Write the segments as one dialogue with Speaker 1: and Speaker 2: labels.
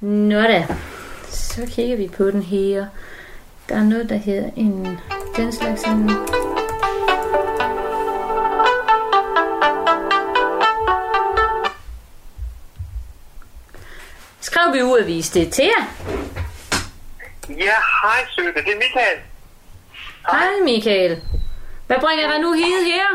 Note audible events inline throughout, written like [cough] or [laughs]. Speaker 1: Nå da, så kigger vi på den her. Der er noget, der hedder en... Den slags en... Skrev vi uavis det til jer?
Speaker 2: Ja, hej Søde, det er Michael.
Speaker 1: Hej Michael. Hvad bringer der nu hede her?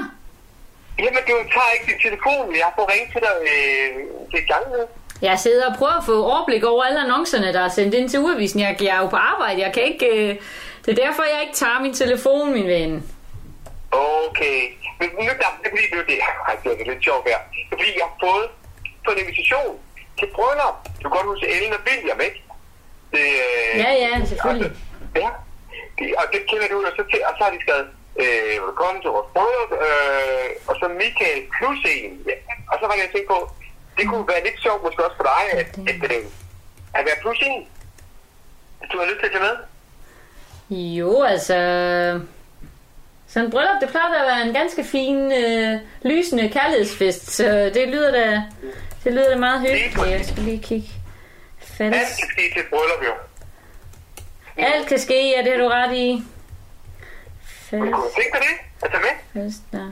Speaker 2: Jamen, du tager ikke din telefon. Jeg får ringe til dig øh, det gang nu.
Speaker 1: Jeg sidder og prøver at få overblik over alle annoncerne, der er sendt ind til udvisen. Jeg, jeg er jo på arbejde, jeg kan ikke... Øh... Det er derfor, jeg ikke tager min telefon, min ven.
Speaker 2: Okay. Men nu der, det er fordi, nu er det, ej, det er lidt sjovt her. Det er fordi, jeg har fået på en invitation til bryllup. Du kan godt huske Ellen og William, ikke? Det, øh,
Speaker 1: Ja, ja, selvfølgelig.
Speaker 2: Altså, ja. Det, og det kender du jo så til, og så har de skrevet, øh, velkommen til vores bryllup, øh, og så Michael plus en. Ja. Og så var det, jeg tænkte på, det kunne være lidt sjovt måske også for dig, at, at, øh, at være plus en. Hvis du har lyst til at tage med.
Speaker 1: Jo, altså... Sådan en bryllup, det plejer da at være en ganske fin, øh, lysende kærlighedsfest. Så det lyder da, det lyder da meget hyggeligt. Jeg skal lige kigge.
Speaker 2: Alt
Speaker 1: Fælles.
Speaker 2: kan ske til et bryllup, jo.
Speaker 1: Alt kan ske, ja, det har du ret i. Fælles.
Speaker 2: Kunne du tænke dig det? At tage med?
Speaker 1: Falster.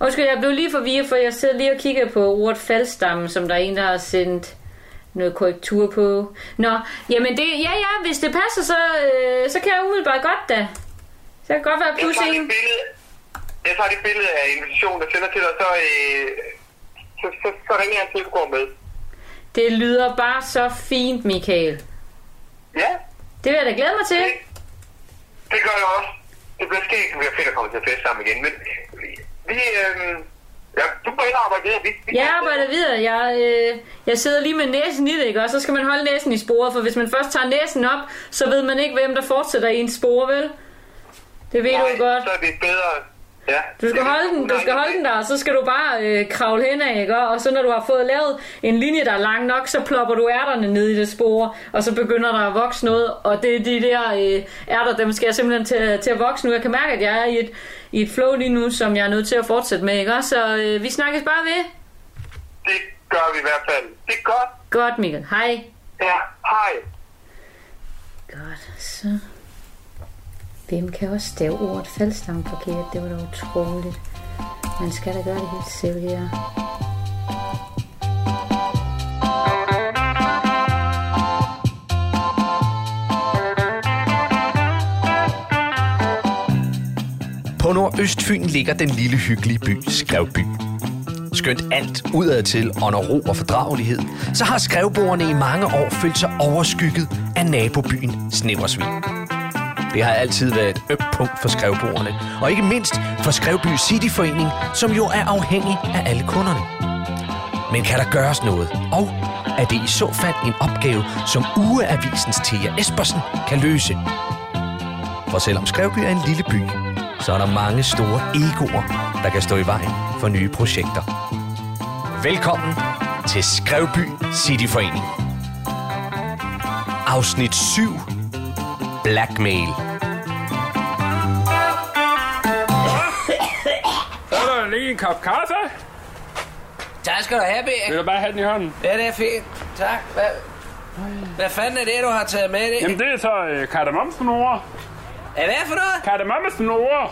Speaker 1: Undskyld, jeg blev lige forvirret, for jeg sidder lige og kigger på ordet faldstamme, som der er en, der har sendt noget korrektur på. Nå, jamen det, ja ja, hvis det passer, så, øh, så kan jeg umiddelbart godt da. Så kan jeg godt være
Speaker 2: Jeg
Speaker 1: plus
Speaker 2: tager
Speaker 1: en.
Speaker 2: dit billede, jeg tager dit billede af invitationen, der sender til dig, så, øh, så, så, så ringer jeg til, at du går med.
Speaker 1: Det lyder bare så fint, Michael.
Speaker 2: Ja,
Speaker 1: Det vil jeg da glæde mig til.
Speaker 2: det, det gør jeg også. Det bliver skægt, det bliver fedt at komme til at fest sammen igen, men vi- vi, øh, ja, du må hellere arbejde videre. Vi, vi
Speaker 1: Jeg arbejder videre. Jeg, øh, jeg sidder lige med næsen i det, ikke? Og så skal man holde næsen i sporet, for hvis man først tager næsen op, så ved man ikke, hvem der fortsætter i ens spore, vel? Det ved
Speaker 2: Nej,
Speaker 1: du godt.
Speaker 2: Så er det bedre. Ja.
Speaker 1: Du skal holde den, du skal holde den der, og så skal du bare øh, kravle henad, ikke? Og så når du har fået lavet en linje, der er lang nok, så plopper du ærterne ned i det spore, og så begynder der at vokse noget, og det er de der øh, ærter, dem skal jeg simpelthen til, til at vokse nu. Jeg kan mærke, at jeg er i et, i et flow lige nu, som jeg er nødt til at fortsætte med, ikke? Så øh, vi snakkes bare ved.
Speaker 2: Det gør vi i hvert fald. Det er godt.
Speaker 1: Godt, Mikkel. Hej.
Speaker 2: Ja, hej.
Speaker 1: Godt, så... Hvem kan også stave ordet faldstamme forkert? Det var da utroligt. Man skal da gøre det helt selv her.
Speaker 3: På Nordøstfyn ligger den lille hyggelige by Skrevby. Skønt alt udadtil under ro og fordragelighed, så har skrevboerne i mange år følt sig overskygget af nabobyen Sneversvig. Det har altid været et ømt punkt for skrevboerne, og ikke mindst for Skrevby Cityforening, som jo er afhængig af alle kunderne. Men kan der gøres noget? Og er det i så fald en opgave, som ugeavisens Thea Espersen kan løse? For selvom Skrevby er en lille by, så er der mange store egoer, der kan stå i vejen for nye projekter. Velkommen til Skrevby Cityforening. Afsnit 7. Blackmail.
Speaker 4: Så er der lige en kop kaffe.
Speaker 5: Tak skal du have, Bæk.
Speaker 4: Vil du bare have den i hånden?
Speaker 5: Ja, det er fint. Tak. Hvad, hvad fanden er det, du har taget med det?
Speaker 4: Jamen det er så øh, kardemommesnore.
Speaker 5: Er det for noget?
Speaker 4: Kardemommesnore!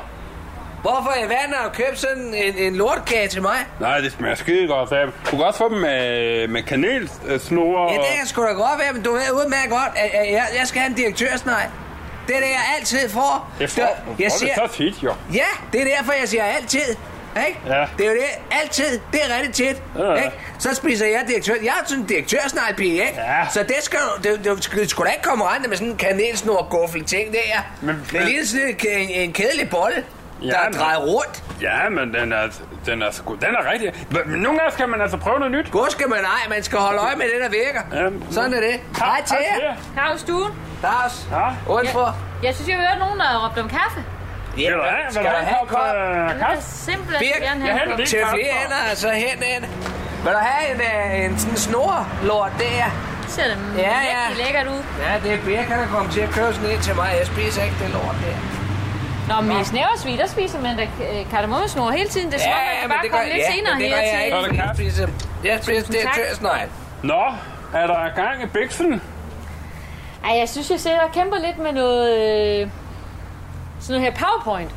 Speaker 5: Hvorfor i verden har du købt sådan en, en lortkage til mig?
Speaker 4: Nej, det smager skide godt, Sam. Du kan også få dem med, med kanelsnore.
Speaker 5: Ja, det altså- kan sgu da godt være, men du ved udmærket godt, at, at jeg, jeg skal have en direktørsnej. Det er det, jeg altid får.
Speaker 4: det får, du får
Speaker 5: jeg
Speaker 4: det
Speaker 5: siger,
Speaker 4: så tit, jo.
Speaker 5: Ja, det er derfor, jeg siger altid. Ikke?
Speaker 4: Ja.
Speaker 5: Det er jo det. Altid. Det er rigtig tit.
Speaker 4: Ja.
Speaker 5: Ikke? Så spiser jeg direktør. Jeg er sådan en direktørsneglepige, ikke?
Speaker 4: Ja.
Speaker 5: Så det skal du, det, det, skal, du skal da ikke komme rende med sådan en kanelsnor guffel ting der.
Speaker 4: Men-
Speaker 5: det er
Speaker 4: men-
Speaker 5: lige sådan en, en, en kedelig bolle,
Speaker 4: Ja,
Speaker 5: der er
Speaker 4: men-
Speaker 5: drejet rundt.
Speaker 4: Ja, men den er, den er sgu, den er rigtig. Men nogle gange skal man altså prøve noget nyt.
Speaker 5: God skal man ej, man skal holde øje med det, der virker.
Speaker 4: Ja.
Speaker 5: Sådan er det. Hej til jer.
Speaker 1: Hej, stuen.
Speaker 5: Lars.
Speaker 4: Ja.
Speaker 5: Udenfor.
Speaker 1: Jeg synes, jeg hørte nogen, der råbte om kaffe.
Speaker 5: Ja,
Speaker 4: Vil du have, vil
Speaker 5: skal
Speaker 4: du
Speaker 5: du
Speaker 4: have en
Speaker 5: have
Speaker 4: kop øh,
Speaker 1: Jeg vil
Speaker 4: kaffe?
Speaker 1: simpelthen
Speaker 5: Birk,
Speaker 1: gerne
Speaker 4: Jeg
Speaker 1: have
Speaker 4: hælder lige
Speaker 5: Til
Speaker 4: kaffe.
Speaker 5: flere ender, så hen ind. Vil du have en, øh, en sådan snorlort der?
Speaker 1: Det ser da
Speaker 5: Ja,
Speaker 1: ja,
Speaker 5: ja.
Speaker 1: ja. lækkert ud.
Speaker 5: Ja, det er Birk, han er kommet til at købe sådan en til mig. Jeg spiser ikke det lort der.
Speaker 1: Nå, men i snæversvig, der spiser man da øh, kardemommesnor hele tiden. Det er som om, man kan bare komme lidt senere
Speaker 5: men det
Speaker 1: her
Speaker 5: gør
Speaker 1: til.
Speaker 5: jeg
Speaker 4: Har du
Speaker 5: ikke. Jeg
Speaker 4: kaffe?
Speaker 5: spiser, jeg spiser det
Speaker 1: tak.
Speaker 5: tørsnegl.
Speaker 4: Nå,
Speaker 6: Er der gang i
Speaker 4: [laughs]
Speaker 6: biksen?
Speaker 1: Ej, jeg synes, jeg sidder og kæmper lidt med noget... Øh, sådan noget her PowerPoint.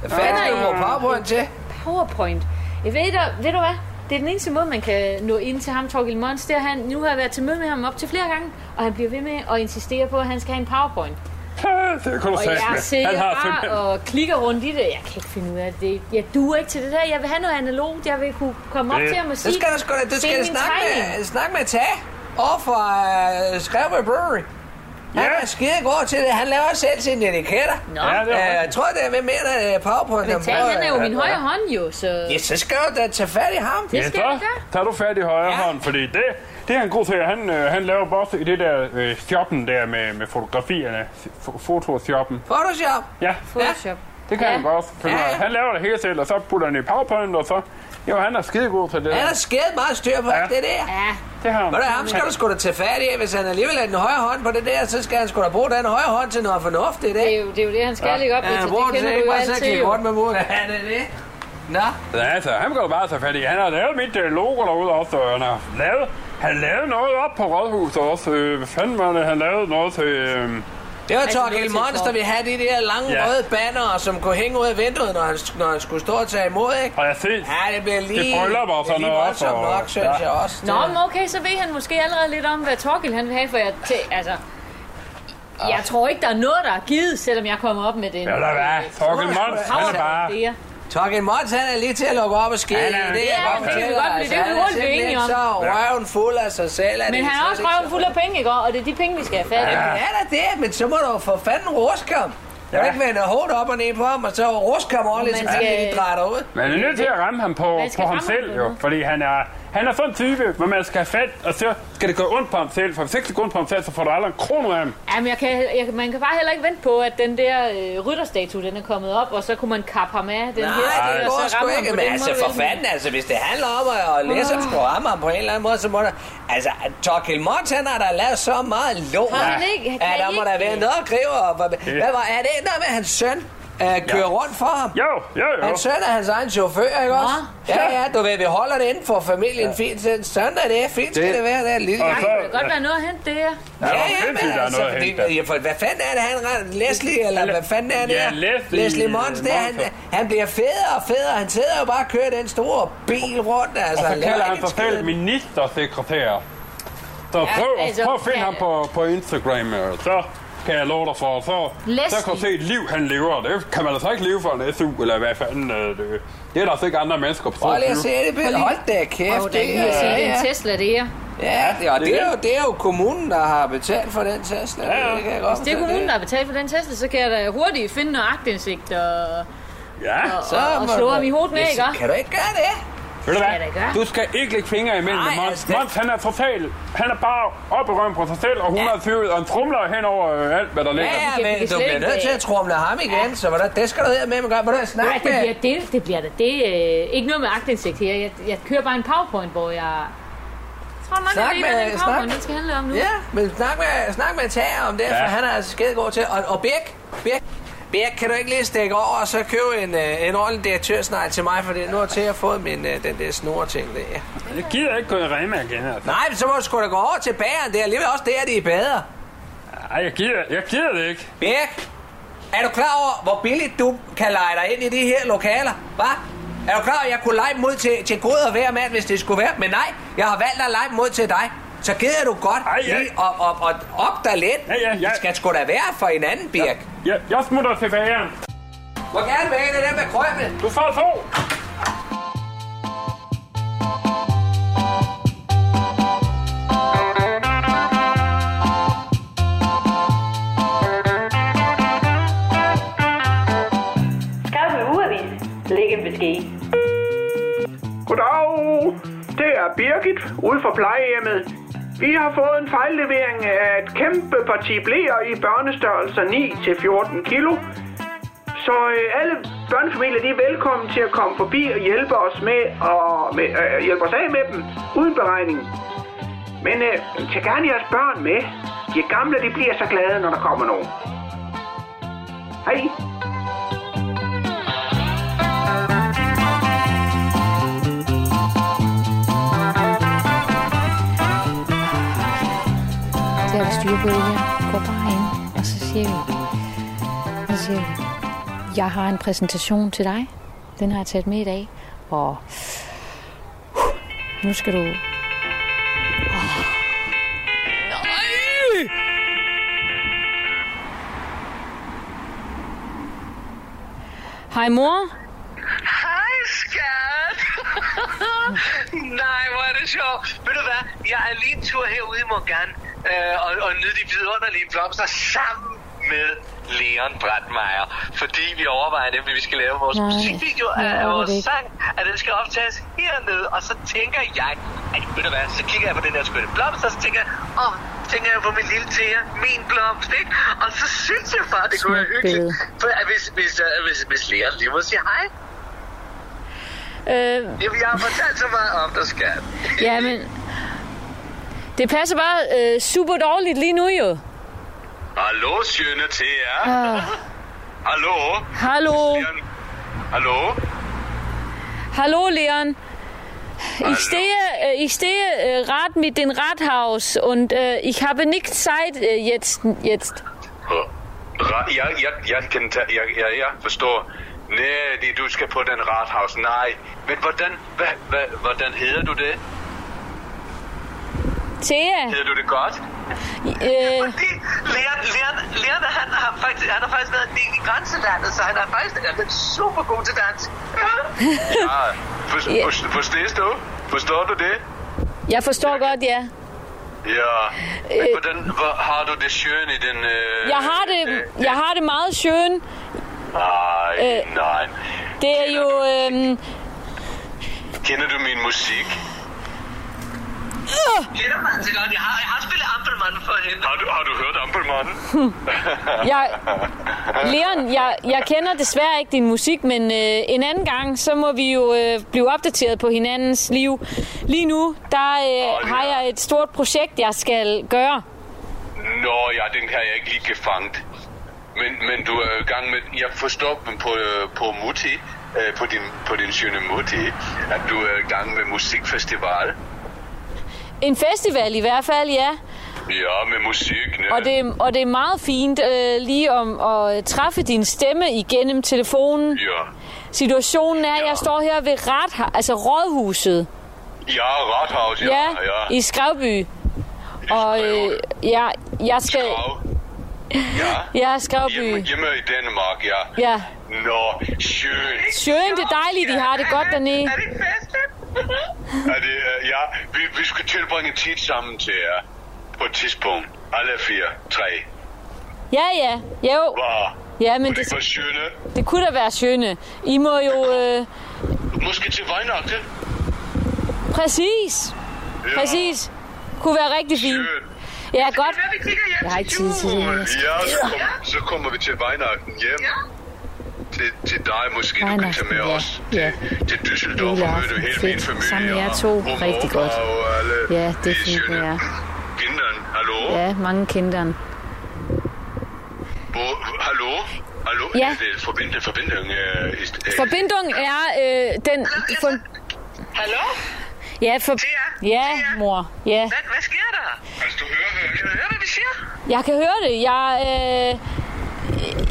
Speaker 5: Hvad fanden er du bruger powerpoint til?
Speaker 1: PowerPoint. Jeg ved, du, ved du hvad? Det er den eneste måde, man kan nå ind til ham, Torgild Mons. Det er han, nu har jeg været til møde med ham op til flere gange, og han bliver ved med at insistere på, at han skal have en PowerPoint.
Speaker 6: det er kun
Speaker 1: Og jeg
Speaker 6: sagt.
Speaker 1: sidder
Speaker 6: Han har
Speaker 1: bare
Speaker 6: simpelthen...
Speaker 1: og klikker rundt i det. Jeg kan ikke finde ud af det. Jeg duer ikke til det der. Jeg vil have noget analogt. Jeg vil kunne komme op
Speaker 6: Det-
Speaker 1: til ham og
Speaker 5: Det
Speaker 1: sige...
Speaker 5: skal du sgu da, det
Speaker 1: "Det
Speaker 5: skal
Speaker 1: er
Speaker 5: du
Speaker 1: min
Speaker 5: snakke med,
Speaker 1: tegning."
Speaker 5: snakke med Tag over fra uh, Skrevby Brewery. Han
Speaker 6: Ja.
Speaker 5: er skide god til det. Han laver også selv sine etiketter.
Speaker 1: Nå,
Speaker 6: Ja, det
Speaker 5: Øh,
Speaker 6: er
Speaker 5: Jeg tror, det er med mere end øh, powerpoint.
Speaker 1: men
Speaker 5: han
Speaker 1: Tag,
Speaker 5: bruger.
Speaker 1: han er jo min højre hånd jo, så...
Speaker 5: Ja, så skal du da tage fat i ham.
Speaker 1: Det skal jeg gøre.
Speaker 6: tager du fat i højre
Speaker 5: Ja.
Speaker 6: hånd, fordi det, det er en god til. Han, øh, han laver bare i det der øh, shoppen der med, med fotografierne. F- Fotoshoppen.
Speaker 5: Photoshop.
Speaker 6: Ja,
Speaker 1: Photoshop.
Speaker 6: det kan
Speaker 1: Ja.
Speaker 6: han godt. Finde
Speaker 5: Ja,
Speaker 6: ja.
Speaker 5: ja.
Speaker 6: Han laver det hele selv, og så putter han i powerpoint, og så... Jo, han er skidegod til det.
Speaker 5: Han er skide meget styr på
Speaker 6: Ja.
Speaker 5: alt det der.
Speaker 1: Ja,
Speaker 6: Det har han.
Speaker 5: Ved du, ham skal du sgu da tage fat i. Hvis han alligevel er den højre hånd på det der, så skal han sgu da bruge den højre hånd til noget fornuftigt,
Speaker 1: det
Speaker 5: ikke?
Speaker 1: er jo det, er jo det han skal lægge op.
Speaker 5: Ja,
Speaker 1: til.
Speaker 5: han
Speaker 1: det
Speaker 5: bruger den til
Speaker 1: kender du
Speaker 5: ikke
Speaker 1: jo
Speaker 5: bare at sidde og
Speaker 1: altid.
Speaker 5: klikke
Speaker 1: jo.
Speaker 5: rundt med mulen. Ja, det er det. Nå,
Speaker 6: Ja, altså, han går bare tage fat i. Han har lavet mit øh, logo derude også, og han har lavet, han lavede noget op på Rådhuset også. Øh, hvad fanden var det? Han lavede noget til... Øh,
Speaker 5: det var
Speaker 1: Altså, noget
Speaker 5: Torgild
Speaker 1: til
Speaker 5: Mons,
Speaker 1: for-
Speaker 5: der vi have de der lange
Speaker 6: Ja.
Speaker 5: røde banner, som kunne hænge ud af vinduet, når han, når han skulle stå og tage imod, ikke?
Speaker 6: og jeg set...
Speaker 5: Ja, det blev lige...
Speaker 6: bryllup og sådan
Speaker 5: det blev
Speaker 6: noget,
Speaker 5: voldsomt
Speaker 6: og-
Speaker 5: nok, synes
Speaker 6: Ja.
Speaker 5: jeg også.
Speaker 1: Nå, men okay, så ved han måske allerede lidt om, hvad Torgild han vil have, for jeg tæ- altså... Jeg tror ikke, der er noget, der er givet, selvom jeg kommer op med den.
Speaker 6: Ja, der var Torkel Mons, han er bare...
Speaker 1: Flere.
Speaker 5: Torgild Mons, han er lige til at lukke op og skide i
Speaker 6: Han er-
Speaker 5: det. jeg
Speaker 1: Ja,
Speaker 5: godt
Speaker 1: men det kan vi
Speaker 5: fortæller,
Speaker 1: godt blive- det er vi
Speaker 5: altså. Han er
Speaker 1: hurtigt blive
Speaker 5: simpelthen
Speaker 1: enige om.
Speaker 5: så røven fuld af sig selv. at
Speaker 1: Men han
Speaker 5: det slet
Speaker 1: har også
Speaker 5: ikke så-
Speaker 1: røven fuld af penge, ikke? Og det er de penge, vi skal have fat i.
Speaker 5: Ja, da det, men så må du for fanden ruske ham. Ja. Du
Speaker 6: Ja.
Speaker 5: kan ikke vende hovedet op og ned på ham, og så ruske ham ordentligt, så
Speaker 1: Man
Speaker 5: han
Speaker 1: skal-
Speaker 5: ikke drejer ud.
Speaker 6: Man er nødt til at ramme ham på,
Speaker 1: Man skal
Speaker 6: på ham
Speaker 1: ramme
Speaker 6: selv,
Speaker 1: ham
Speaker 6: jo.
Speaker 1: på.
Speaker 6: Fordi han er, han er sådan en type, hvor man skal have fat, og så skal det gå ondt på ham selv. For hvis ikke det går ondt på ham selv, så får du aldrig en krone af ham.
Speaker 1: Jamen, jeg kan, jeg, man kan bare heller ikke vente på, at den der øh, rytterstatue, den er kommet op, og så kunne man kappe ham af. Den her,
Speaker 5: Nej, det
Speaker 1: og
Speaker 5: går
Speaker 1: så
Speaker 5: sgu
Speaker 1: ramme ham
Speaker 5: ikke.
Speaker 1: på
Speaker 5: Men
Speaker 1: den
Speaker 5: altså,
Speaker 1: måde,
Speaker 5: for
Speaker 1: vel?
Speaker 5: fanden, altså, hvis det handler om at, at læse ham, skulle ramme ham på en eller anden måde, så må der... Altså, Torkild Mons, han har da lavet så meget lort.
Speaker 1: Har han ikke? Kan
Speaker 5: Ja, der
Speaker 1: I
Speaker 5: må der
Speaker 1: ikke?
Speaker 5: være noget at gribe. Og, hvad, hvad var, er det noget med, at hans søn øh, kører rundt for ham?
Speaker 6: Jo, jo, jo.
Speaker 5: Hans søn er hans egen chauffør, ikke også?
Speaker 1: Nå.
Speaker 5: Ja, ja, du ved, vi holder det inden for familien fint. så Sådan er det, fint skal
Speaker 6: Det-
Speaker 5: det være, det er lille.
Speaker 6: Og
Speaker 1: Ej,
Speaker 6: så-
Speaker 1: det kan godt være noget at hente det her.
Speaker 6: Ja, hvor sindssygt, der er noget at
Speaker 5: altså, fordi-
Speaker 6: hente der.
Speaker 5: ja, for, hvad fanden er det, han render? Leslie, eller
Speaker 6: Le-
Speaker 5: hvad fanden er det
Speaker 6: Ja,
Speaker 5: her?
Speaker 6: Leslie øh,
Speaker 5: Leslie Mons, det er, han,
Speaker 6: Monster.
Speaker 5: han bliver federe og federe. Han sidder jo bare og kører den store bil rundt. Altså,
Speaker 6: Og så
Speaker 5: laver
Speaker 6: kalder han
Speaker 5: ikke
Speaker 6: sig
Speaker 5: en
Speaker 6: selv
Speaker 5: skid.
Speaker 6: ministersekretær. Så prøv,
Speaker 1: altså,
Speaker 6: prøv at finde
Speaker 1: ja.
Speaker 6: ham på, på Instagram, øh, så kan jeg love dig for. Så, så
Speaker 1: Leslie.
Speaker 6: kan du se et liv, han lever. Det kan man altså ikke leve for en SU, eller hvad fanden. øh, Det, det er der altså ikke andre mennesker på
Speaker 5: Prøv lige at
Speaker 6: 22.
Speaker 5: se det billede. Hold da kæft.
Speaker 1: Og der kan jeg
Speaker 5: er-
Speaker 1: sige, det er
Speaker 5: ja,
Speaker 1: en Tesla, det her.
Speaker 5: ja, det- og
Speaker 6: Det er
Speaker 5: det er,
Speaker 6: det.
Speaker 5: jo, det er jo kommunen, der har betalt for den Tesla.
Speaker 6: ja.
Speaker 5: Det kan
Speaker 1: Hvis
Speaker 5: jeg godt
Speaker 1: det er
Speaker 5: fortælle
Speaker 1: kommunen, der har betalt for den Tesla, så kan jeg da hurtigt finde noget agtindsigt og,
Speaker 6: Ja,
Speaker 1: og, og, og
Speaker 5: må
Speaker 1: slå
Speaker 5: du-
Speaker 1: ham i hovedet med,
Speaker 5: Ja,
Speaker 1: ikke?
Speaker 5: Kan du ikke gøre det?
Speaker 6: ved du
Speaker 1: skal jeg da
Speaker 6: hvad?
Speaker 1: gøre.
Speaker 6: Du skal ikke lægge fingre imellem
Speaker 5: Nej,
Speaker 6: med Mons.
Speaker 5: altså, det-
Speaker 6: Mons, han er total. Han er bare op i røven på sig selv, og 120, og en trumler hen over øh, alt, hvad der ligger.
Speaker 5: Ja,
Speaker 1: vi
Speaker 5: ja,
Speaker 1: kan
Speaker 5: men
Speaker 1: slet
Speaker 5: du bliver
Speaker 1: ikke-
Speaker 5: nødt til at trumle ham igen, så hvordan, det skal du her med, men gør, hvordan
Speaker 1: Nej,
Speaker 5: snakke
Speaker 1: det
Speaker 5: med?
Speaker 1: bliver det, det bliver det. det øh, ikke noget med agtindsigt her. Jeg, jeg kører bare en powerpoint, hvor jeg... Jeg tror nok,
Speaker 5: Snak
Speaker 1: at det
Speaker 5: med-
Speaker 1: er den
Speaker 5: snak.
Speaker 1: powerpoint, den skal handle om nu.
Speaker 5: Ja, men snak med, snak med Tager om det, ja.
Speaker 6: Ja.
Speaker 5: for han er altså skide god til. Og, og Birk, Birk, Birk, kan du ikke lige stikke over og så købe en, øh, en ordentlig direktørsnej til mig, for det er nu til at få min, øh, den der snorting der.
Speaker 6: Jeg gider ikke gå i Rema igen, altså.
Speaker 5: Nej, men så må du sgu da gå over til bageren, det er alligevel også der, de er bedre.
Speaker 6: Ej, jeg gider, jeg gider det ikke.
Speaker 5: Birk, er du klar over, hvor billigt du kan lege dig ind i de her lokaler? Hva? Er du klar over, at jeg kunne lege dem ud til, til god og hver mand, hvis det skulle være? Men nej, jeg har valgt at lege dem ud til dig. Så gider du godt
Speaker 6: Ej, ja.
Speaker 5: lige op, op, op, op dig lidt.
Speaker 6: Ja, ja, ja.
Speaker 5: Det skal sgu da være for en anden, Birk.
Speaker 6: Jeg, jeg smutter til bageren.
Speaker 5: Hvor gerne vil jeg det der med krøbene?
Speaker 6: Du får to.
Speaker 7: Skriv en ugeavis. Læg en besked.
Speaker 8: Goddag, det er Birgit ude for plejehjemmet. Vi har fået en fejllevering af et kæmpe parti blæer i børnestørrelser 9-14 kilo. Så øh, alle børnefamilier de er velkommen til at komme forbi og hjælpe os med og med, øh, hjælpe os af med dem uden beregning. Men øh, tag gerne jeres børn med. De gamle de bliver så glade, når der kommer nogen. Hej.
Speaker 9: til at have styr på det her. Gå bare ind, og så siger vi, så siger vi, jeg har en præsentation til dig. Den har jeg taget med i dag. Og nu skal du... Oh. Nej! Hej mor.
Speaker 5: Hej, skat. Nej, hvor er det sjovt. Ved du hvad? Jeg er lige en tur herude i Morgan øh, og, og nyde de vidunderlige blomster sammen med Leon Brandmeier. Fordi vi overvejer nemlig, at vi skal lave vores
Speaker 9: Nej,
Speaker 5: musikvideo af
Speaker 9: jeg
Speaker 5: af
Speaker 9: orker
Speaker 5: vores
Speaker 9: det ikke.
Speaker 5: sang, at den skal optages hernede. Og så tænker jeg, at ved du hvad, så kigger jeg på den der skønne blomst, og så tænker jeg, åh, tænker jeg på min lille tæer, min blomst, ikke? Og så synes jeg bare, det kunne være
Speaker 9: Smukt
Speaker 5: hyggeligt,
Speaker 9: billede.
Speaker 5: for, at hvis, hvis, øh, hvis, hvis Leon lige må sige hej.
Speaker 1: Øh,
Speaker 5: Jamen, jeg har fortalt så meget om dig, skat.
Speaker 1: ja, men... Det passer bare øh, super dårligt lige nu jo.
Speaker 5: Hallo, skønne til jer.
Speaker 1: Ah,
Speaker 5: Hallo?
Speaker 1: hallo,
Speaker 5: Leon. Hallo?
Speaker 1: hallo Leon. Ich stehe, äh, ich stehe äh, gerade mit dem Rathaus und äh, ich habe nicht Zeit äh, jetzt. jetzt.
Speaker 10: Ra- Jeg, jeg, jeg, kan ta- jeg, jeg, jeg forstår. Nej, det- du skal på den rathaus. Nej. Men hvordan, hvad, hvad, hvordan hedder du det?
Speaker 1: Thea,
Speaker 10: Hedder du det godt?
Speaker 1: äh,
Speaker 5: Fordi Leon, Leon, Leon han, har faktisk, han har faktisk været en del i grænselandet, så han er faktisk han er super god til dans.
Speaker 10: Ja. For, for, forstår du? Forstår du det?
Speaker 1: jeg forstår godt, ja. Äh,
Speaker 10: Ja. Men hvordan hvor, har du det skønt i den... Øh,
Speaker 1: Jeg har det, jeg har det meget schön.
Speaker 10: Nej,
Speaker 1: Øh.
Speaker 10: nej.
Speaker 1: Det er jo... Øh,
Speaker 10: Kender du min musik?
Speaker 1: Øh.
Speaker 5: Kender man så godt. Jeg har, jeg har spillet Ampelmann for hende.
Speaker 10: Har du, har du hørt Ampelmann?
Speaker 1: [laughs] jeg, Leon, jeg, jeg kender desværre ikke din musik, men øh, en anden gang, så må vi jo øh, blive opdateret på hinandens liv. Lige nu, der øh, har jeg et stort projekt, jeg skal gøre.
Speaker 10: Nå ja, den kan jeg ikke lige gefanget. Men, men du er i gang med... Jeg forstår på, øh, på Mutti, øh, på din, på din skønne Mutti, at du er i gang med musikfestival.
Speaker 1: En festival i hvert fald, ja.
Speaker 10: Ja, med musik. Ja.
Speaker 1: Og det, og det er meget fint øh, lige om at træffe din stemme igennem telefonen.
Speaker 10: Ja.
Speaker 1: Situationen er, at jeg står her ved ret, altså rådhuset.
Speaker 10: Ja, Rathaus, ja.
Speaker 1: Ja,
Speaker 10: ja. Ligesom
Speaker 1: i Skrevby. Og øh, ja, jeg skal...
Speaker 10: Krav. Ja,
Speaker 1: Ja,
Speaker 10: hjemme,
Speaker 1: Skrevby.
Speaker 10: hjemme i Danmark, ja.
Speaker 1: Ja.
Speaker 10: Nå, schön.
Speaker 1: Sjøen, det er dejligt, de har det godt dernede.
Speaker 5: Er det ikke festligt?
Speaker 10: Er det, øh, ja, vi, vi skal tilbringe tid sammen til jer på et tidspunkt. Alle fire, tre.
Speaker 1: Ja, ja, jo.
Speaker 10: Var.
Speaker 1: Ja, men
Speaker 10: Men det
Speaker 1: det,
Speaker 10: var schöne.
Speaker 1: det kunne da være sjøne. I må jo... Øh,
Speaker 10: Måske til Weihnachten.
Speaker 1: præcis,
Speaker 10: Ja,
Speaker 1: præcis. Kunne være rigtig fint.
Speaker 10: Schön.
Speaker 1: Ja, godt.
Speaker 5: Hvad vi kigger hjem
Speaker 9: Jeg har ikke
Speaker 5: til
Speaker 9: tid til det her.
Speaker 10: Ja, så, kom, så kommer vi til Weihnachten hjem.
Speaker 5: Ja.
Speaker 10: Til, til dig måske, du kan tage
Speaker 9: Weihnachten,
Speaker 10: med
Speaker 9: ja.
Speaker 10: os
Speaker 9: Ja.
Speaker 10: til, til Düsseldorf og møde
Speaker 9: Juleaften,
Speaker 10: hele min
Speaker 9: fedt.
Speaker 10: familie.
Speaker 9: Sammen med jer
Speaker 10: og-
Speaker 9: to.
Speaker 10: og
Speaker 9: Rigtig
Speaker 10: morfar
Speaker 9: godt.
Speaker 10: Og alle
Speaker 9: Ja, det er
Speaker 10: de
Speaker 9: fint med
Speaker 10: schöne
Speaker 9: jer.
Speaker 10: Kinderen, hallo?
Speaker 9: Ja, mange kinderen.
Speaker 10: Hvor, hallo? Hallo?
Speaker 1: Ja.
Speaker 10: Er det forbinde, forbinding? Øh, ist, øh,
Speaker 1: Forbindung er øh, den... For,
Speaker 5: Hallo?
Speaker 1: ja, for,
Speaker 5: Thea?
Speaker 1: ja,
Speaker 5: Thea?
Speaker 1: mor. Ja.
Speaker 5: Hvad, hvad sker der?
Speaker 10: altså, du hører,
Speaker 5: Kan du
Speaker 10: øh,
Speaker 5: høre, hvad vi siger?
Speaker 1: Jeg kan høre det. Jeg, øh,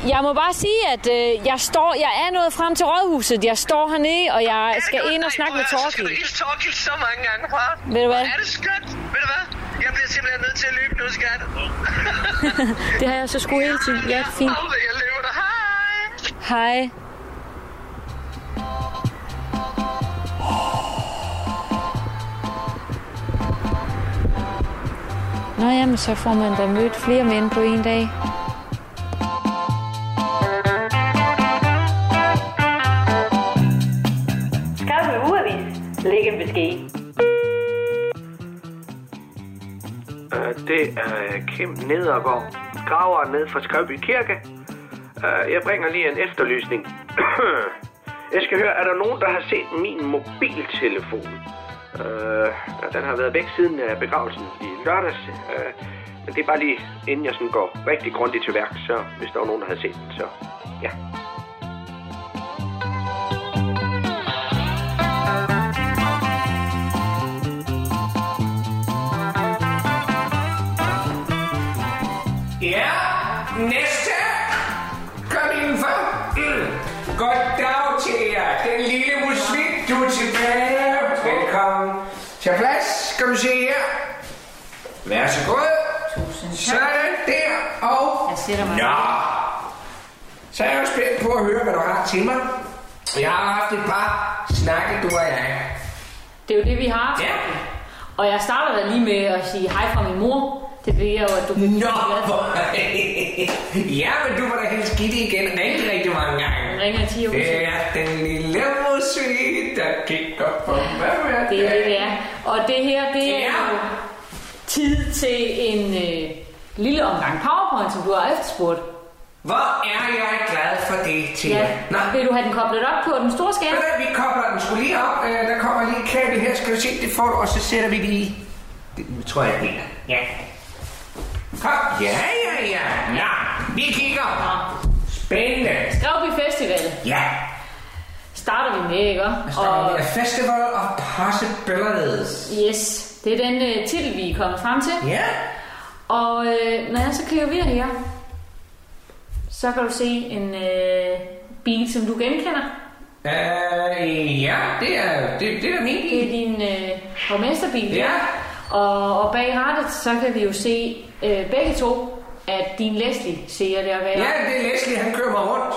Speaker 1: jeg må bare sige, at øh, jeg, står, jeg er nået frem til rådhuset. Jeg står hernede, og jeg skal ind og snakke med
Speaker 5: Skal du
Speaker 1: Torkild.
Speaker 5: hilse Torkild så mange gange fra?
Speaker 1: Ved du hvad?
Speaker 5: Er det skønt? Ved du hvad? Jeg bliver simpelthen nødt til at løbe nu, skat.
Speaker 1: Det har jeg så sgu hele tiden. Ja, det er fint.
Speaker 5: Au, Jeg løber dig. Hej.
Speaker 1: Hej. Nå jamen, så får man da mødt flere mænd på en dag.
Speaker 7: Skaffe en ugeavis. Læg en besked.
Speaker 8: Øh, det er øh, Kim Nedergaard, graver ned fra Skrøby Kirke. Øh, jeg bringer lige en efterlysning. [clears throat] jeg skal høre, er der nogen, der har set min mobiltelefon? Øh, ja, den har været væk siden øh, begravelsen i lørdags. Øh, men det er bare lige, inden jeg sådan går rigtig grundigt til værk, så hvis der var nogen, der havde set den, så ja.
Speaker 5: Ja, næste. Kom indenfor. Mm. Godt dag til jer. Den lille musvik, du er tilbage. Velkommen. Tag plads. Skal du se her? Vær så god.
Speaker 1: Tusind
Speaker 5: Sådan der. Og...
Speaker 1: Jeg sætter mig.
Speaker 5: Nå. Så er jeg jo spændt på at høre, hvad du har til mig. Jeg har haft et par snakke, du og jeg.
Speaker 1: Det er jo det, vi har.
Speaker 5: Ja.
Speaker 1: Og jeg starter da lige med at sige hej fra min mor. Det ved jeg jo, at du kan
Speaker 5: Nå, hvor... [laughs] ja, men du var da helt skidt igen rigtig, rigtig mange gange.
Speaker 1: ringer 10 år.
Speaker 5: Det er den lille musik, der kigger på mig hver
Speaker 1: Det er det,
Speaker 5: dag.
Speaker 1: det er. Og det her, det er
Speaker 5: Ja.
Speaker 1: jo tid til en øh, lille omgang PowerPoint, som du har efterspurgt.
Speaker 5: Hvor er jeg glad for det, Tina.
Speaker 1: Ja.
Speaker 5: Nå,
Speaker 1: Vil du have den koblet op på den store skærm?
Speaker 5: ved du, vi kobler den skulle lige op. Øh, Der kommer lige et kabel her, skal du se, det får du, og så sætter vi det i. Det tror jeg, det er. Ja. Kom. Ja, ja, ja. Ja, vi kigger. Spændende.
Speaker 1: Gravby Festival
Speaker 5: Ja.
Speaker 1: starter vi med, ikke?
Speaker 5: Og Festival of Possibilities.
Speaker 1: yes, det er den øh, titel, vi er kommet frem til.
Speaker 5: Ja.
Speaker 1: Og øh, når jeg så klaverer her, så kan du se en øh, bil, som du genkender.
Speaker 5: Øh, ja, det er, det, det er da min
Speaker 1: Det er
Speaker 5: bil.
Speaker 1: din øh, borgmesterbil.
Speaker 5: Ja.
Speaker 1: Og, og bag rattet, så kan vi jo se øh, begge to, at din Leslie ser der være.
Speaker 5: Ja, det er Leslie, han kører mig rundt.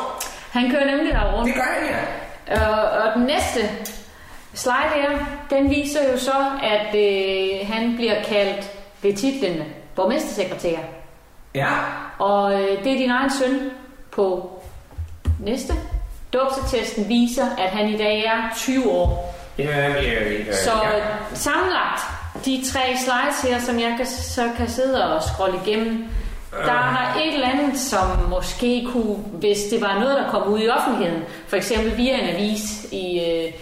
Speaker 1: Han kører nemlig der rundt.
Speaker 5: Det gør han, ja.
Speaker 1: Og, og den næste slide her, den viser jo så, at øh, han bliver kaldt ved titlen borgmestersekretær.
Speaker 5: Ja.
Speaker 1: Og øh, det er din egen søn på næste. Dåbsatesten viser, at han i dag er 20 år.
Speaker 5: Ja, ja, ja.
Speaker 1: Så
Speaker 5: Øh, ja.
Speaker 1: sammenlagt de tre slides her, som jeg kan, så kan sidde og scrolle igennem,
Speaker 5: Øh.
Speaker 1: der er et eller andet, som måske kunne, hvis det var noget, der kom ud i offentligheden, for eksempel via en avis i, øh,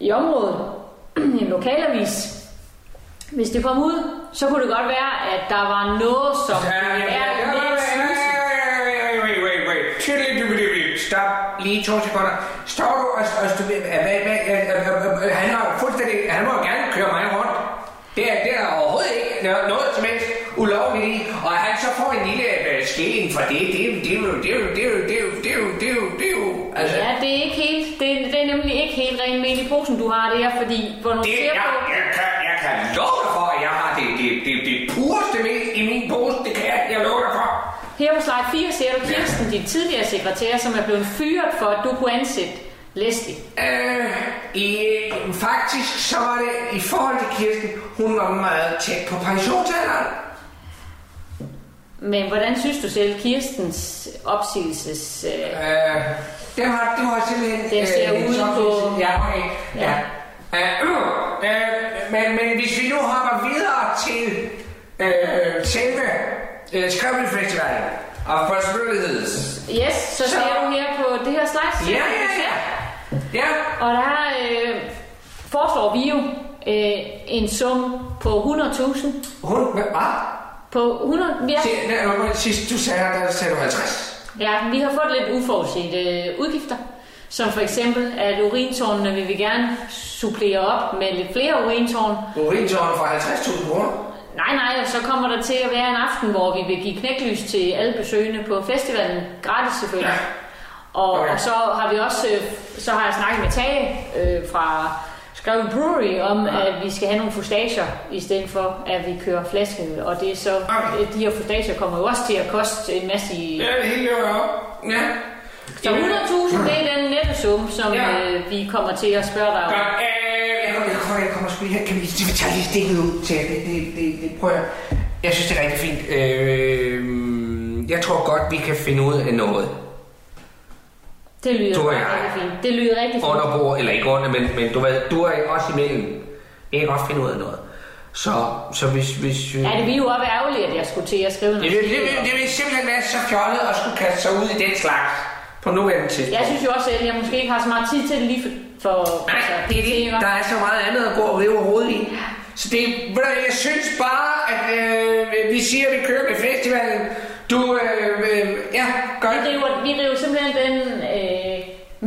Speaker 1: i området, [clears throat] en lokalavis, hvis det kom ud, så kunne det godt være, at der var noget, som
Speaker 5: Ja, ja,
Speaker 1: kunne være
Speaker 5: ja, ja, ja,
Speaker 1: lidt
Speaker 5: ja,
Speaker 1: snusigt.
Speaker 5: ja, ja, wait, wait, wait. Tiddly-dibbly-dibbly. Stop lige to sekunder. Står du og, og stu- hvad, hvad, hvad, øh, øh, øh, han har jo fuldstændig, han må jo gerne køre mig rundt. Det er, det er der overhovedet ikke noget, noget som helst ulovligt i. Og at han så får en lille øh, skilling for det, det er jo, det er jo, det er jo, det er jo, det er jo, det er jo, det er jo, det er jo, altså.
Speaker 1: Ja, det er ikke helt, det er, det er nemlig ikke helt ren mel i posen, du har det her, fordi hvor du
Speaker 5: Det,
Speaker 1: ser
Speaker 5: jeg,
Speaker 1: på...
Speaker 5: jeg, kan, jeg kan love dig for, at jeg har det, det, det, det pureste mel i min pose, det kan jeg, jeg love dig for.
Speaker 1: Her på slide 4 ser du Kirsten, din tidligere sekretær, som er blevet fyret for, at du kunne ansætte Leslie.
Speaker 5: Øh, i, faktisk så var det i forhold til Kirsten, hun var meget tæt på pensionsalderen.
Speaker 1: Men hvordan synes du selv Kirstens opsigelses... Øh,
Speaker 5: Øh, det var, det var simpelthen...
Speaker 1: Den ser
Speaker 5: en
Speaker 1: ud
Speaker 5: sådan-
Speaker 1: på-
Speaker 5: Ja, okay. Ja. Øh, øh, øh, men, men hvis vi nu hopper videre til øh, selve øh, Skrivelsfestivalen og Possibilities.
Speaker 1: yes, så
Speaker 5: Så-
Speaker 1: ser du her på det her slide.
Speaker 5: Ja, ja, ja. Ja,
Speaker 1: Og der øh, foreslår vi jo øh, en sum på 100.000.
Speaker 5: hun... Hvad? Hvad?
Speaker 1: På 100... Ja,
Speaker 5: Se, der var- Sidst du sagde, der sagde du 50.
Speaker 1: Ja, vi har fået lidt uforudsete øh, udgifter, som for eksempel, at urintårnene vil vi gerne supplere op med lidt flere urintårn.
Speaker 5: Urintårn for 50.000 kroner.
Speaker 1: Nej, nej, og så kommer der til at være en aften, hvor vi vil give knæklys til alle besøgende på festivalen. Gratis selvfølgelig. Og,
Speaker 5: Okay.
Speaker 1: og så har vi også, øh, så har jeg snakket med Tage øh, fra Skreve Brewery om, at vi skal have nogle fustager, i stedet for, at vi kører flasken. Og det er så,
Speaker 5: Okay.
Speaker 1: øh, de her fustager kommer jo også til at koste en masse i
Speaker 5: Ja, det hele løber op. Ja.
Speaker 1: Så 100.000, det er den nette sum, som
Speaker 5: Ja.
Speaker 1: ja. øh, vi kommer til at spørge dig om.
Speaker 5: Godt. Øh, jeg kommer- jeg kommer, jeg kommer sgu lige her. Kan vi, vi tager lige stikket ud til det, det, det, det prøver jeg. Jeg synes, det er rigtig fint. Øh, jeg tror godt, vi kan finde ud af noget.
Speaker 1: Det lyder
Speaker 5: Tror jeg.
Speaker 1: rigtig fint. Det lyder rigtig fint.
Speaker 5: Under bord, eller ikke under, men, men du ved, du er også imellem. Jeg kan godt finde ud af noget. Så, så hvis... hvis øh,
Speaker 1: Ja, det ville jo også være ærgerligt, at jeg skulle til at skrive
Speaker 5: Det
Speaker 1: noget.
Speaker 5: vil, det, vil, det vil simpelthen være så fjollet at skulle kaste sig ud i den slags på nuværende tidspunkt.
Speaker 1: Jeg synes jo også, at jeg måske ikke har så meget tid til det lige for... for
Speaker 5: Nej,
Speaker 1: altså,
Speaker 5: det er
Speaker 1: ikke?
Speaker 5: det. Der er så meget andet at gå og rive hovedet i. Så det, ved du, jeg synes bare, at øh, vi siger, at vi kører med festivalen. Du, øh, øh, ja, godt.
Speaker 1: Vi river, vi river simpelthen den øh,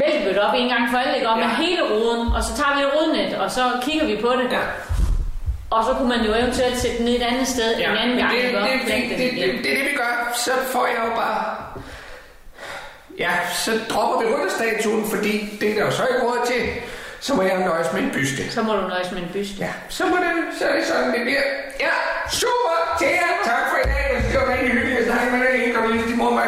Speaker 1: mælkebøtte op en gang for alle, ikke? Og med
Speaker 5: Ja.
Speaker 1: hele roden, og så tager vi et rodnet, og så kigger vi på det.
Speaker 5: Ja,
Speaker 1: Og så kunne man jo eventuelt sætte den ned et andet sted
Speaker 5: ja.
Speaker 1: en anden
Speaker 5: Men
Speaker 1: gang.
Speaker 5: det,
Speaker 1: ikke?
Speaker 5: det,
Speaker 1: Og
Speaker 5: det,
Speaker 1: plante
Speaker 5: det,
Speaker 1: den
Speaker 5: det,
Speaker 1: igen.
Speaker 5: det, det er det, vi gør. så får jeg jo bare... Ja, så dropper vi rytterstatuen, fordi det er der jo så ikke råd til. Så må jeg nøjes med en byste.
Speaker 11: Så må du nøjes med en byste.
Speaker 5: Ja, så må det, så er det sådan, det bliver. Ja, super, til jer. Tak for i dag. Det var rigtig hyggeligt at snakke med dig. Helt og lige, de må mig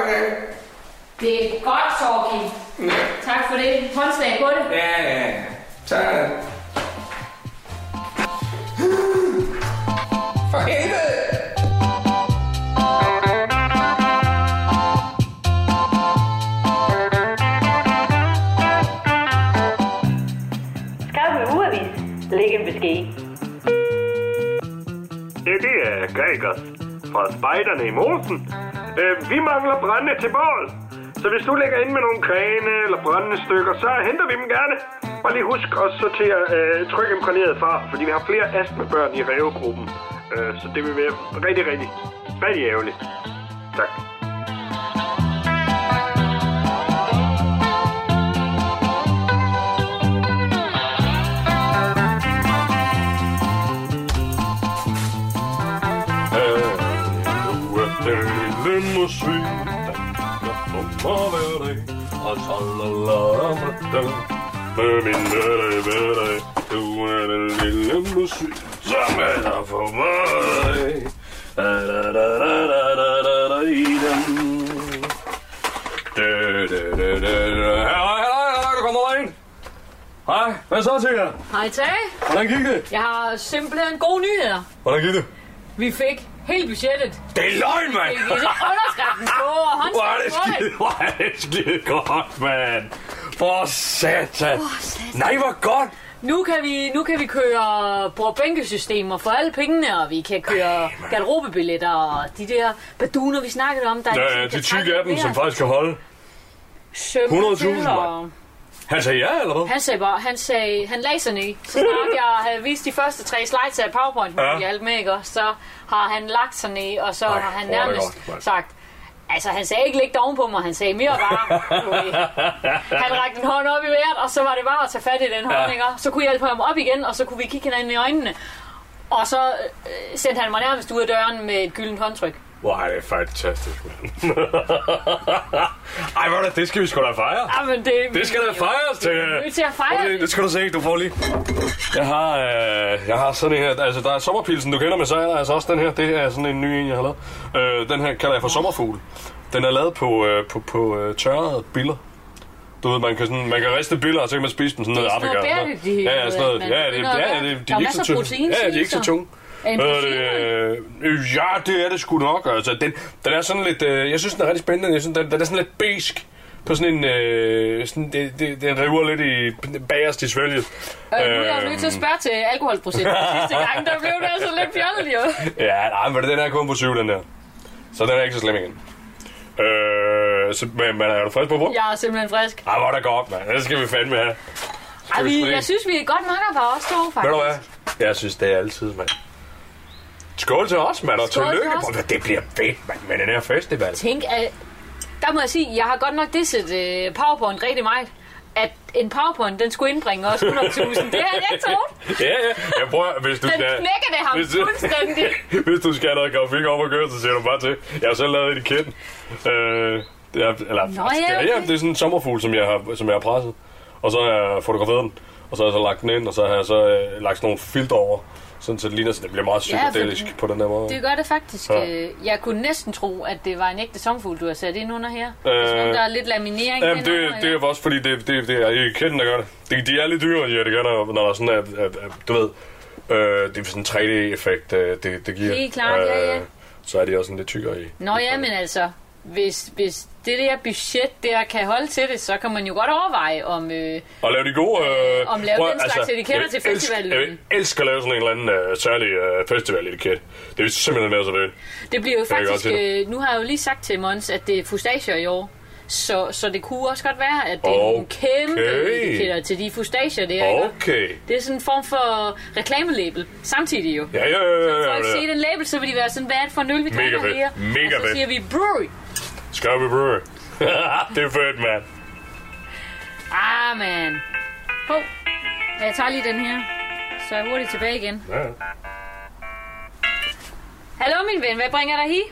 Speaker 11: Det er godt, Torgild.
Speaker 5: Ja.
Speaker 11: Tak for det. Håndslag på det.
Speaker 5: Ja, ja, ja. Så er det. For helvede!
Speaker 7: Skarpe ugeavis. Læg en besked.
Speaker 8: Ja, det er Gregers fra Spejderne i Mosen. Øh, vi mangler brænde til bål. Så hvis du lægger ind med nogle grene eller brændende stykker, så henter vi dem gerne. Og lige husk også så til at øh, trykke imponeret far, fordi vi har flere astmabørn i revegruppen. Øh, så det vil være rigtig, rigtig, rigtig ærgerligt. Tak.
Speaker 6: Nu er delen og sygt, der kommer hver dag, og så la la la med min hverdag, hverdag, du er den lille musik, som er der for mig. Da, da, da, da, da, da, da, da, i den. Da, da, da, da, da. Halløj, halløj, halløj, du kommer derind. Hej, hvad så, Tina?
Speaker 1: Hej Tage.
Speaker 6: Hvordan gik det?
Speaker 1: Jeg har simpelthen gode nyheder.
Speaker 6: Hvordan gik det?
Speaker 1: Vi fik hele budgettet.
Speaker 6: Det er løgn, mand!
Speaker 5: [laughs]
Speaker 1: Vi fik underskriften på og
Speaker 6: Hvor er
Speaker 1: håndslag på det.
Speaker 6: det skide, hvor er det skide godt, mand! For satan!
Speaker 1: For satan.
Speaker 6: Nej, hvor godt!
Speaker 1: Nu kan vi, nu kan vi køre brugbænkesystemer for alle pengene, og vi kan køre garderobebilletter og de der baduner, vi snakkede om. Der
Speaker 6: Ja,
Speaker 1: ligesom
Speaker 6: ja, de
Speaker 1: kan
Speaker 6: tykke
Speaker 1: trække
Speaker 6: af dem,
Speaker 1: mere.
Speaker 6: som faktisk kan holde.
Speaker 1: Sømme
Speaker 6: 100.000,
Speaker 1: til, og-
Speaker 6: Han sagde ja, eller hvad?
Speaker 1: Han sagde bare, han sagde, han lagde sig ned. Så snart jeg havde vist de første tre slides af PowerPoint, hvor
Speaker 6: Ja.
Speaker 1: ja. alt med, ikke? også? så har han lagt sig ned, og så Ej, har han
Speaker 6: hvor er det
Speaker 1: nærmest
Speaker 6: godt, mand.
Speaker 1: sagt, altså han sagde ikke læg dig ovenpå mig, han sagde mere bare. Han rakte en hånd op i vejret, og så var det bare at tage fat i den hånd,
Speaker 6: Ja.
Speaker 1: ikke? også? Så kunne jeg hjælpe ham op igen, og så kunne vi kigge hinanden i øjnene. Og så øh, sendte han mig nærmest ud af døren med et gyldent håndtryk.
Speaker 6: Hvor er det fantastisk, mand. [laughs] Ej, hvor er det, det skal vi sgu da fejre.
Speaker 1: Jamen, det,
Speaker 6: Det skal da fejres, til.
Speaker 1: Vi er nødt til at fejre
Speaker 6: Okay, det skal du se, du får lige. Jeg har, øh, jeg har sådan en her, altså der er sommerpilsen, du kender, men så er der altså også den her, det er sådan en ny en, jeg har lavet. Øh, den her kalder jeg for sommerfugl. Den er lavet på, øh, på, på øh, tørrede biller. Du ved, man kan, sådan, man kan riste biller, og så kan man spise dem sådan noget i
Speaker 1: sådan
Speaker 6: Afrika.
Speaker 1: noget
Speaker 6: og sådan noget.
Speaker 1: bæredygtighed,
Speaker 6: Ja, ja, sådan noget.
Speaker 1: man
Speaker 6: Ja, det,
Speaker 1: begynder at
Speaker 6: ja,
Speaker 1: gøre.
Speaker 6: det, de
Speaker 1: Der er
Speaker 6: er ikke så
Speaker 1: masser af
Speaker 6: tunge.
Speaker 1: protein
Speaker 6: Ja,
Speaker 1: i,
Speaker 6: de er ikke så
Speaker 1: så.
Speaker 6: tunge.
Speaker 1: Er en
Speaker 6: Hvad
Speaker 1: protein,
Speaker 6: det, øh, ja, det er det sgu nok. Altså, den, den er sådan lidt, øh, jeg synes, den er rigtig spændende. Jeg synes, den, den er sådan lidt besk på sådan en... Øh, sådan, det, det, den river lidt i bagerst i svælget. Øhm,
Speaker 1: Øh, nu er jeg jo nødt til at spørge til alkoholprocenten. Sidste gang, der blev det altså
Speaker 6: [laughs]
Speaker 1: lidt fjollet, jo.
Speaker 6: Ja, nej, men den er kun på 7, den der. Så den er ikke så slem igen. Øh, så, men, men er du frisk på brug?
Speaker 1: Jeg er simpelthen frisk.
Speaker 6: Ej, hvor er det godt, mand. Det skal vi fandme have.
Speaker 1: Ej,
Speaker 6: Skal vi
Speaker 1: vi,
Speaker 6: springe?
Speaker 1: jeg synes, vi er godt makker på os to,
Speaker 6: Ved du
Speaker 1: faktisk.
Speaker 6: hvad? Jeg synes, det er altid, mand. Skål til os, mand, og
Speaker 1: Skål til
Speaker 6: tillykke.
Speaker 1: os.
Speaker 6: Prøv, at- det bliver fedt, mand, med den her festival.
Speaker 1: Tænk, at, der må jeg sige, jeg har godt nok disset uh, PowerPoint rigtig meget. At en PowerPoint, den skulle indbringe os 100.000. Det er jeg ikke troet.
Speaker 6: ja, ja. Jeg prøver, hvis du
Speaker 1: Den
Speaker 6: skal...
Speaker 1: knækkede ham
Speaker 6: hvis du,
Speaker 1: fuldstændig.
Speaker 6: [laughs] hvis du skal have noget grafik op og køre, så siger du bare til. Jeg har selv lavet et i kitten. Øh, det er, eller, Nå,
Speaker 1: ja,
Speaker 6: det, er,
Speaker 1: okay.
Speaker 6: ja, det er sådan en sommerfugl, som jeg har, som jeg har presset. Og så har jeg fotograferet den. Og så har jeg så lagt den ind, og så har jeg så øh, lagt sådan nogle filter over. Sådan, så det ligner, så det bliver meget
Speaker 1: Ja, for-
Speaker 6: psykedelisk ja, på den der måde.
Speaker 1: Det gør det faktisk.
Speaker 6: Ja.
Speaker 1: Øh, jeg kunne næsten tro, at det var en ægte sommerfugl, du har sat ind under her.
Speaker 6: Øh,
Speaker 1: Øh, der er lidt laminering.
Speaker 6: Jamen, det,
Speaker 1: indenunder,
Speaker 6: det
Speaker 1: ja.
Speaker 6: er også fordi, det, det, det er ikke kæden, der gør det. De, de er lidt dyre, ja, det gør der, når der er sådan, at, at, at, du ved, øh, det er sådan en 3D-effekt, øh, det, det giver. Øh,
Speaker 1: Helt klart, ja, ja.
Speaker 6: Så er de også sådan lidt tykkere i.
Speaker 1: Nå ja, men altså, hvis, hvis det der budget der kan holde til det, så kan man jo godt overveje, om øh,
Speaker 6: Og lave de gode... Øh,
Speaker 1: Om lave
Speaker 6: prøv at-
Speaker 1: den slags etiketter
Speaker 6: jeg
Speaker 1: til
Speaker 6: elsk-
Speaker 1: festivalen.
Speaker 6: Jeg elsker at lave sådan en eller anden øh, særlig øh, festival-etiket. Det vil simpelthen være så det.
Speaker 1: Det bliver jo
Speaker 6: Det kan jeg
Speaker 1: faktisk...
Speaker 6: godt se.
Speaker 1: Øh, nu har jeg jo lige sagt til Mons, at det er fustager i år. Så, så det kunne også godt være, at det er nogle
Speaker 6: Okay.
Speaker 1: kæmpe etiketter til de fustager, det er. ikke?
Speaker 6: Okay.
Speaker 1: Det er sådan en form for reklamelabel, samtidig jo.
Speaker 6: Ja, ja, ja, ja,
Speaker 1: Folk
Speaker 6: ja,
Speaker 1: se
Speaker 6: ja.
Speaker 1: den label, så vil de være sådan, hvad er det for en øl, vi
Speaker 6: Mega
Speaker 1: drikker
Speaker 6: fedt.
Speaker 1: her?
Speaker 6: Mega
Speaker 1: og så
Speaker 6: fedt.
Speaker 1: siger vi, brewery.
Speaker 6: Skarpe Brewery. [laughs] det er fedt, mand.
Speaker 1: Ah, man. Hov. Jeg tager lige den her. Så er jeg hurtigt tilbage igen.
Speaker 6: Ja.
Speaker 1: Hallo, min ven. Hvad bringer dig her?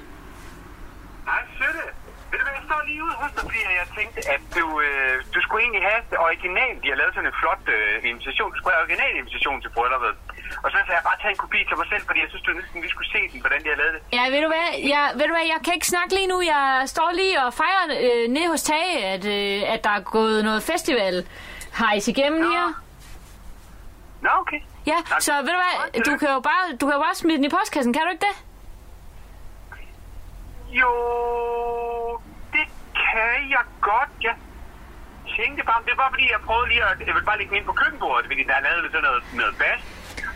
Speaker 2: Nej, sødt. Ved du hvad, jeg står lige ude hos dig, fordi jeg tænkte, at du, øh, du skulle egentlig have det original. De har lavet sådan en flot øh, invitation. Du skulle have original invitation til brylluppet. Og så sagde jeg bare, tage en kopi til mig selv, fordi jeg synes, du næsten lige skulle se den, hvordan de har lavet det.
Speaker 1: Ja, ved du hvad? Jeg, ved du hvad? jeg kan ikke snakke lige nu. Jeg står lige og fejrer øh, nede hos Tage, at, øh, at der er gået noget festival hejs igennem Nå. her.
Speaker 2: Nå, okay.
Speaker 1: Ja, så ved du hvad? Du kan jo bare, du kan jo bare smide den i postkassen, kan du ikke det?
Speaker 2: Jo, det kan jeg godt, ja. Tænkte bare, det var fordi, jeg prøvede lige at, jeg ville bare lægge den ind på køkkenbordet, fordi der er lavet lidt sådan noget, noget bas.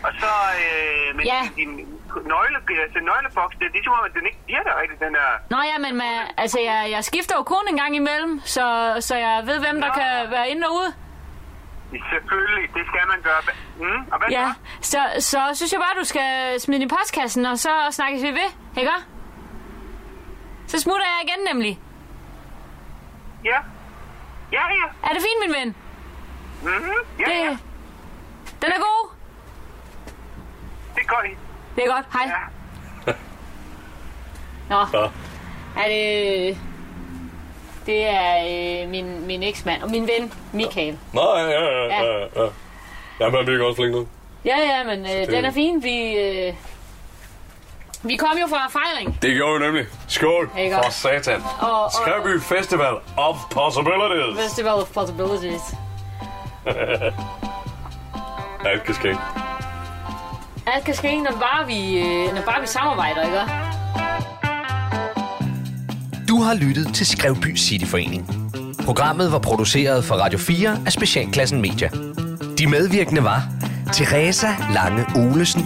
Speaker 2: Og så, øh, men
Speaker 1: Ja.
Speaker 2: ja. din nøgle, altså nøgleboks, det, det er som om, at den ikke virker rigtigt, den der.
Speaker 1: Nå ja, men man, altså, jeg, jeg skifter jo kun en gang imellem, så, så jeg ved, hvem der Nå. kan være inde og ude.
Speaker 2: Selvfølgelig, det skal man gøre. Mm, og hvad ja.
Speaker 1: Ja, så, så synes jeg bare, du skal smide den i postkassen, og så snakkes vi ved, ikke? Så smutter jeg igen nemlig.
Speaker 2: Ja. Ja, ja.
Speaker 1: Er det fint, min ven?
Speaker 2: Mm-hmm. Ja,
Speaker 1: det, ja. Den er god.
Speaker 2: Det er godt.
Speaker 1: Det er godt. Hej. Ja. [laughs] Nå,
Speaker 6: Så.
Speaker 1: er det... Det er øh, min, min eksmand og min ven, Michael.
Speaker 6: Nå, ja, ja, ja, ja, ja. Ja, men vi kan også flink nu.
Speaker 1: Ja, ja, men øh, den er fin. Vi, øh, vi kom jo fra fejring.
Speaker 6: Det gjorde vi nemlig. Skål
Speaker 1: Ikke
Speaker 6: for
Speaker 1: også?
Speaker 6: satan.
Speaker 1: Og- og-
Speaker 6: Skræby Festival of Possibilities.
Speaker 1: Festival of Possibilities.
Speaker 6: Alt kan ske.
Speaker 1: Alt kan ske, når bare vi, øh, når bare vi samarbejder, ikke?
Speaker 3: Du har lyttet til Skrevby Cityforening. Programmet var produceret for Radio 4 af Specialklassen Media. De medvirkende var Teresa Lange Olesen,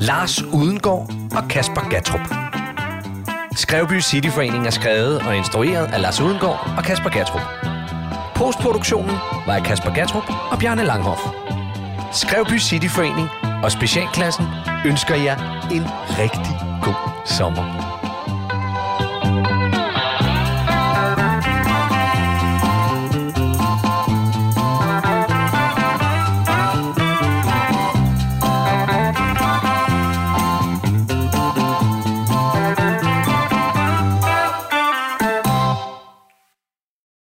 Speaker 3: Lars Udengård og Kasper Gatrup. Skrevby Cityforening er skrevet og instrueret af Lars Udengård og Kasper Gatrup. Postproduktionen var af Kasper Gatrup og Bjarne Langhoff. Skrevby Cityforening og Specialklassen ønsker jer en rigtig god sommer.